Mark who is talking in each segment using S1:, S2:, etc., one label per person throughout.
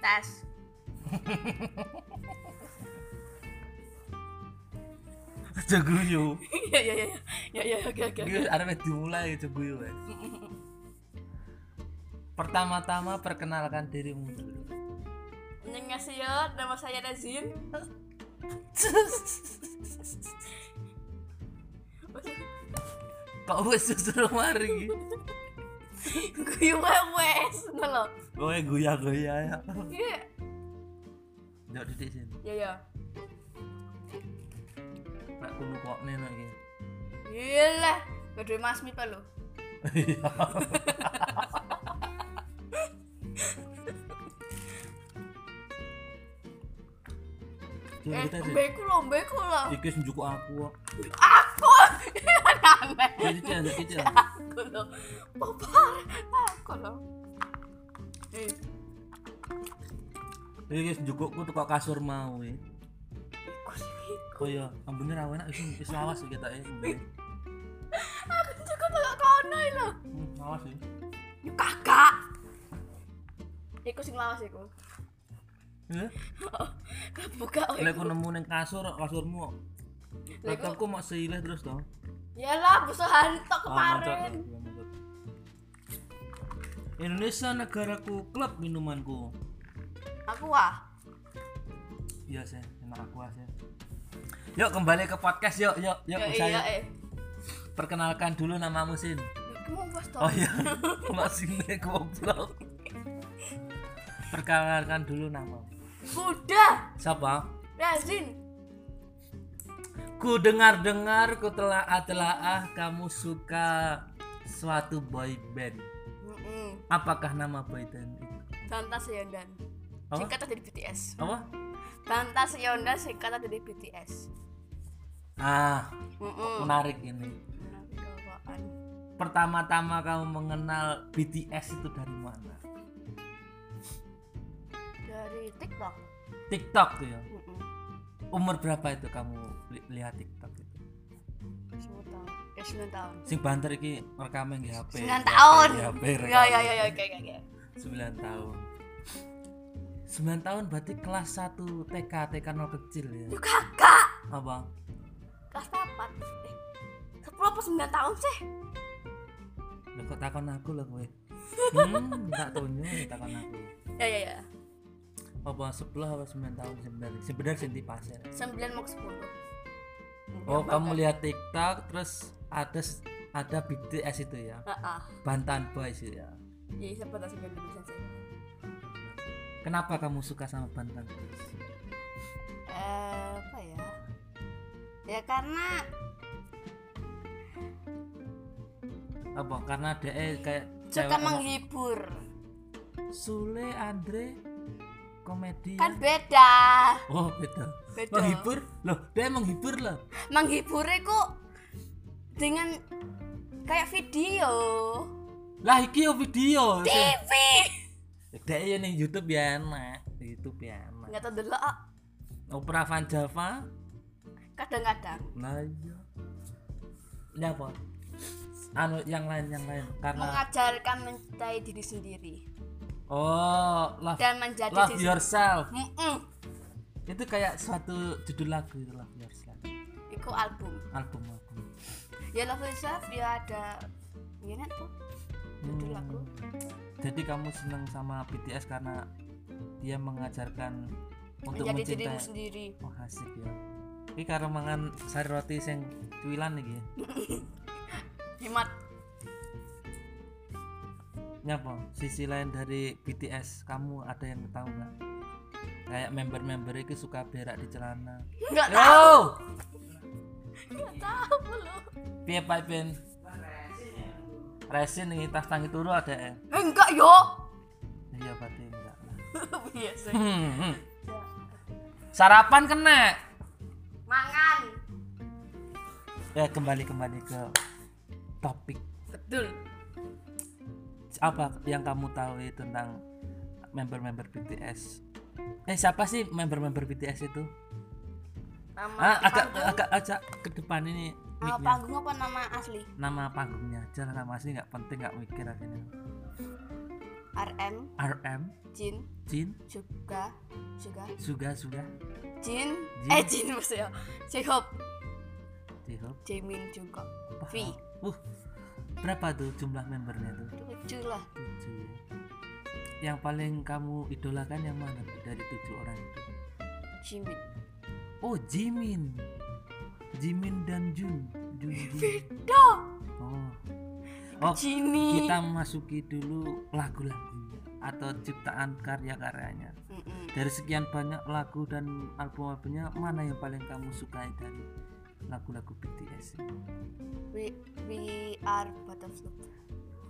S1: atas.
S2: Ceguyu.
S3: Ya ya ya ya. ya ya oke oke.
S2: Gue arep dimulai ya, ceguyu wes. Pertama-tama perkenalkan dirimu dulu.
S3: Annyeonghaseyo, nama saya Nazin.
S2: Kok wes susur mari.
S3: Gue wes ngono lho.
S2: Kowe goyah-goyah ya.
S3: Iya.
S2: Ndok titik sini.
S3: Ya ya.
S2: Nek kulo kok nene iki.
S3: Iyalah, gede Mas Mipa lho.
S2: Iya. Cuk,
S3: Eh,
S2: Iya, kita Iya. sih.
S3: mbeku lho, mbeku lho.
S2: Iki sing njukuk aku kok.
S3: Aku. Aneh.
S2: Jadi dia ada kecil.
S3: Aku lho. Popar. Aku lho. Eh,
S2: Iki sing njukukku teko kasur mau iki.
S3: iku sih, iku.
S2: Oh iya, ambune ra enak sih, eh, wis lawas iki ketoke.
S3: Aku Kan juga tak kono iki lho.
S2: Hmm, lawas sih.
S3: Yo kakak. Iku sing lawas iku.
S2: Heh.
S3: Buka oh,
S2: Iya? Lek
S3: iku.
S2: aku nemu ning kasur, kasurmu.
S3: Lek ku-
S2: Laptopku mau seileh terus to.
S3: Yalah, busuhan tok
S2: Ah, mantap,
S3: kemarin.
S2: mantap, mantap. Indonesia negaraku klub minumanku
S3: Aku wah.
S2: iya sih enak aku aja yuk kembali ke podcast yuk yuk yuk
S3: Ya
S2: saya
S3: iya eh.
S2: perkenalkan dulu namamu Sin
S3: Kamu bos tok.
S2: oh iya masih nih goblok perkenalkan dulu nama
S3: Udah,
S2: siapa
S3: Razin.
S2: ku dengar dengar ku telah telaah kamu suka suatu boy band
S3: Heeh.
S2: apakah nama boy band itu
S3: Tantas Yondan.
S2: Apa?
S3: Singkatan dari BTS.
S2: apa
S3: Tantas Yondan singkatan dari BTS.
S2: ah
S3: Heeh.
S2: menarik ini
S3: Apaan?
S2: pertama-tama kamu mengenal BTS itu dari mana?
S3: Dari TikTok.
S2: TikTok tuh ya.
S3: Heeh.
S2: Umur berapa itu kamu li- lihat TikTok itu?
S3: Sembilan tahun. Eh, sembilan tahun. Eh,
S2: Sing banter iki rekamnya nggih HP.
S3: Sembilan
S2: Di HP,
S3: tahun.
S2: di HP
S3: Ya ya ya ya oke oke oke.
S2: 9 tahun. 9 tahun berarti kelas 1 TK, TK nol kecil ya.
S3: Yo kakak.
S2: Apa?
S3: Kelas empat. Eh, sepuluh apa sembilan tahun sih?
S2: Lah kok takon aku lho kowe. Hmm, tak tunjuk takon aku.
S3: Ya ya ya.
S2: Apa 10 apa 9 tahun sebenarnya? Sebenarnya sing dipasir.
S3: Sembilan mau ke sepuluh.
S2: Oh, kamu lihat TikTok terus ada ada BTS itu ya.
S3: Heeh.
S2: Bantan Boys itu ya.
S3: Jadi sempat langsung ganti bisa sih.
S2: Kenapa kamu suka sama Bantan Boys?
S3: Eh, apa ya? Ya karena
S2: Apa? Karena DE kayak
S3: suka
S2: cewek ngomong,
S3: menghibur.
S2: Sule Andre komedi.
S3: Kan beda.
S2: Oh, beda.
S3: Beda.
S2: Menghibur? Loh, DE menghibur loh.
S3: Menghibur kok dengan kayak video,
S2: Lah iki yo video. sih.
S3: TV.
S2: DE yo ning YouTube ya enak. Di YouTube ya enak.
S3: Enggak tahu dulu ah.
S2: Opera Van Java.
S3: kadang-kadang.
S2: Lah iya. Ini apa? Anu yang lain yang lain karena
S3: Mengajarkan mencintai diri sendiri
S2: oh love,
S3: dan menjadi
S2: love
S3: diri.
S2: yourself
S3: Mm-mm.
S2: itu kayak suatu judul lagu itu love yourself
S3: Iku album.
S2: album album
S3: Ya Love Yourself ya ada iya Gimana tuh? Judul lagu.
S2: Hmm, Jadi kamu seneng sama BTS karena dia mengajarkan untuk
S3: Menjadi
S2: mencintai.
S3: dirimu sendiri.
S2: Oh asik ya. Ini karena mangan sari roti yang cuilan nih ya.
S3: Hemat.
S2: Nyapa? Sisi lain dari BTS kamu ada yang tahu nggak? Kayak member-member itu suka berak di celana.
S3: Enggak tahu.
S2: Yo,
S3: Enggak tahu lu.
S2: piye Pak Ben? Resin nih tas tangi turu ada ya?
S3: Eh, Enggak yo.
S2: Iya berarti enggak. lah.
S3: Biasa.
S2: Hmm, hmm. Sarapan kena.
S3: Mangan.
S2: ya kembali kembali ke topik
S3: Betul.
S2: apa yang kamu tahu tentang member-member BTS eh siapa sih member-member BTS itu
S3: Nama
S2: ah, agak
S3: panggung.
S2: agak agak ke depan ini
S3: Nama
S2: mic-nya.
S3: panggung apa nama asli?
S2: nama panggungnya aja nama asli nggak penting nggak mikir akhirnya
S3: RM
S2: RM
S3: Jin
S2: Jin
S3: juga juga
S2: Suga Suga
S3: Jin,
S2: Jin.
S3: eh Jin maksudnya J-Hope
S2: J-Hope
S3: Jamin juga
S2: Wah.
S3: V
S2: Wuh, berapa tuh jumlah membernya tuh
S3: lucu lah
S2: tujuh ya. yang paling kamu idolakan yang mana tuh dari tujuh orang itu
S3: Jimin
S2: oh Jimin Jimin dan Jun Jun Jin.
S3: Do
S2: oh oh
S3: Jimmy
S2: kita masuki dulu lagu-lagunya atau ciptaan karya-karyanya
S3: Mm-mm.
S2: dari sekian banyak lagu dan album-albumnya mana yang paling kamu sukai dari lagu-lagu BTS ini?
S3: we, we are butterfly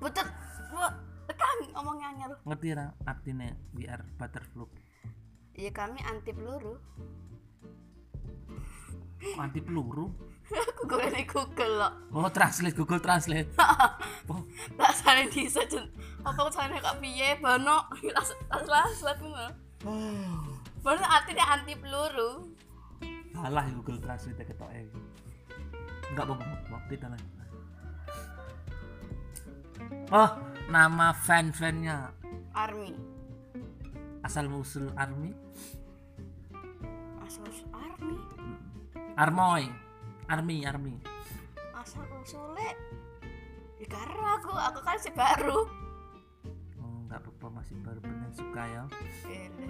S3: butet Wah, kan ngomongnya nyeruk
S2: ngerti ra artinya we are butterfly
S3: ya kami anti peluru
S2: anti peluru
S3: aku gue di google loh
S2: oh translate google translate oh,
S3: rasanya di search apa sana kak piye bano ras ras ras ras ngono. Oh. Bano artinya anti peluru
S2: salah ya google translate ketok e enggak apa-apa kita lagi oh nama fan-fannya
S3: army
S2: asal musul army
S3: asal usul army
S2: armoy army army
S3: asal usulnya ya karena aku aku kan si baru
S2: Oh, nggak apa-apa masih baru benar suka ya
S3: Ele.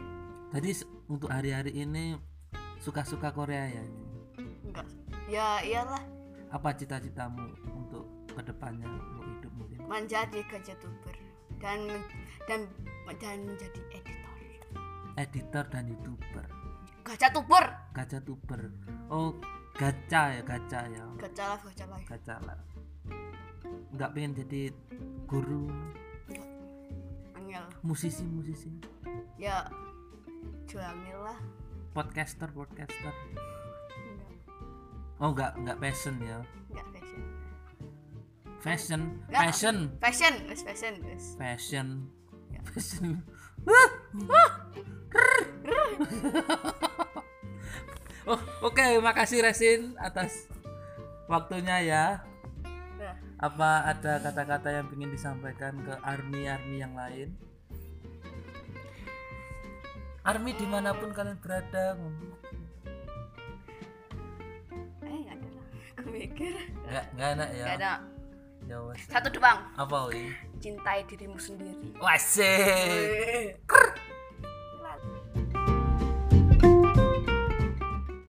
S2: jadi se- untuk hari-hari ini suka-suka Korea ya ini.
S3: enggak ya iyalah
S2: apa cita-citamu untuk kedepannya untuk hidup mungkin
S3: menjadi youtuber ya dan men- dan dan menjadi editor
S2: editor dan youtuber
S3: gacha tuber
S2: gacha tuber oh gacha ya gacha ya
S3: gacha live gacha live
S2: gacha lah nggak pengen jadi guru
S3: angel
S2: musisi musisi
S3: ya juangin lah
S2: podcaster podcaster
S3: enggak
S2: oh nggak nggak passion ya
S3: enggak fashion
S2: fashion
S3: Nggak.
S2: fashion
S3: fashion wes fashion wes
S2: fashion
S3: Ya.
S2: fashion oh oke makasih Resin atas waktunya ya
S3: nah
S2: apa ada kata-kata yang ingin disampaikan ke army-army yang lain army dimanapun kalian berada
S3: eh enggak ada lah aku mikir
S2: nggak nggak enak ya
S3: enggak ada
S2: ya wes
S3: satu doang
S2: apa wih
S3: cintai dirimu sendiri
S2: wasik
S3: Eh.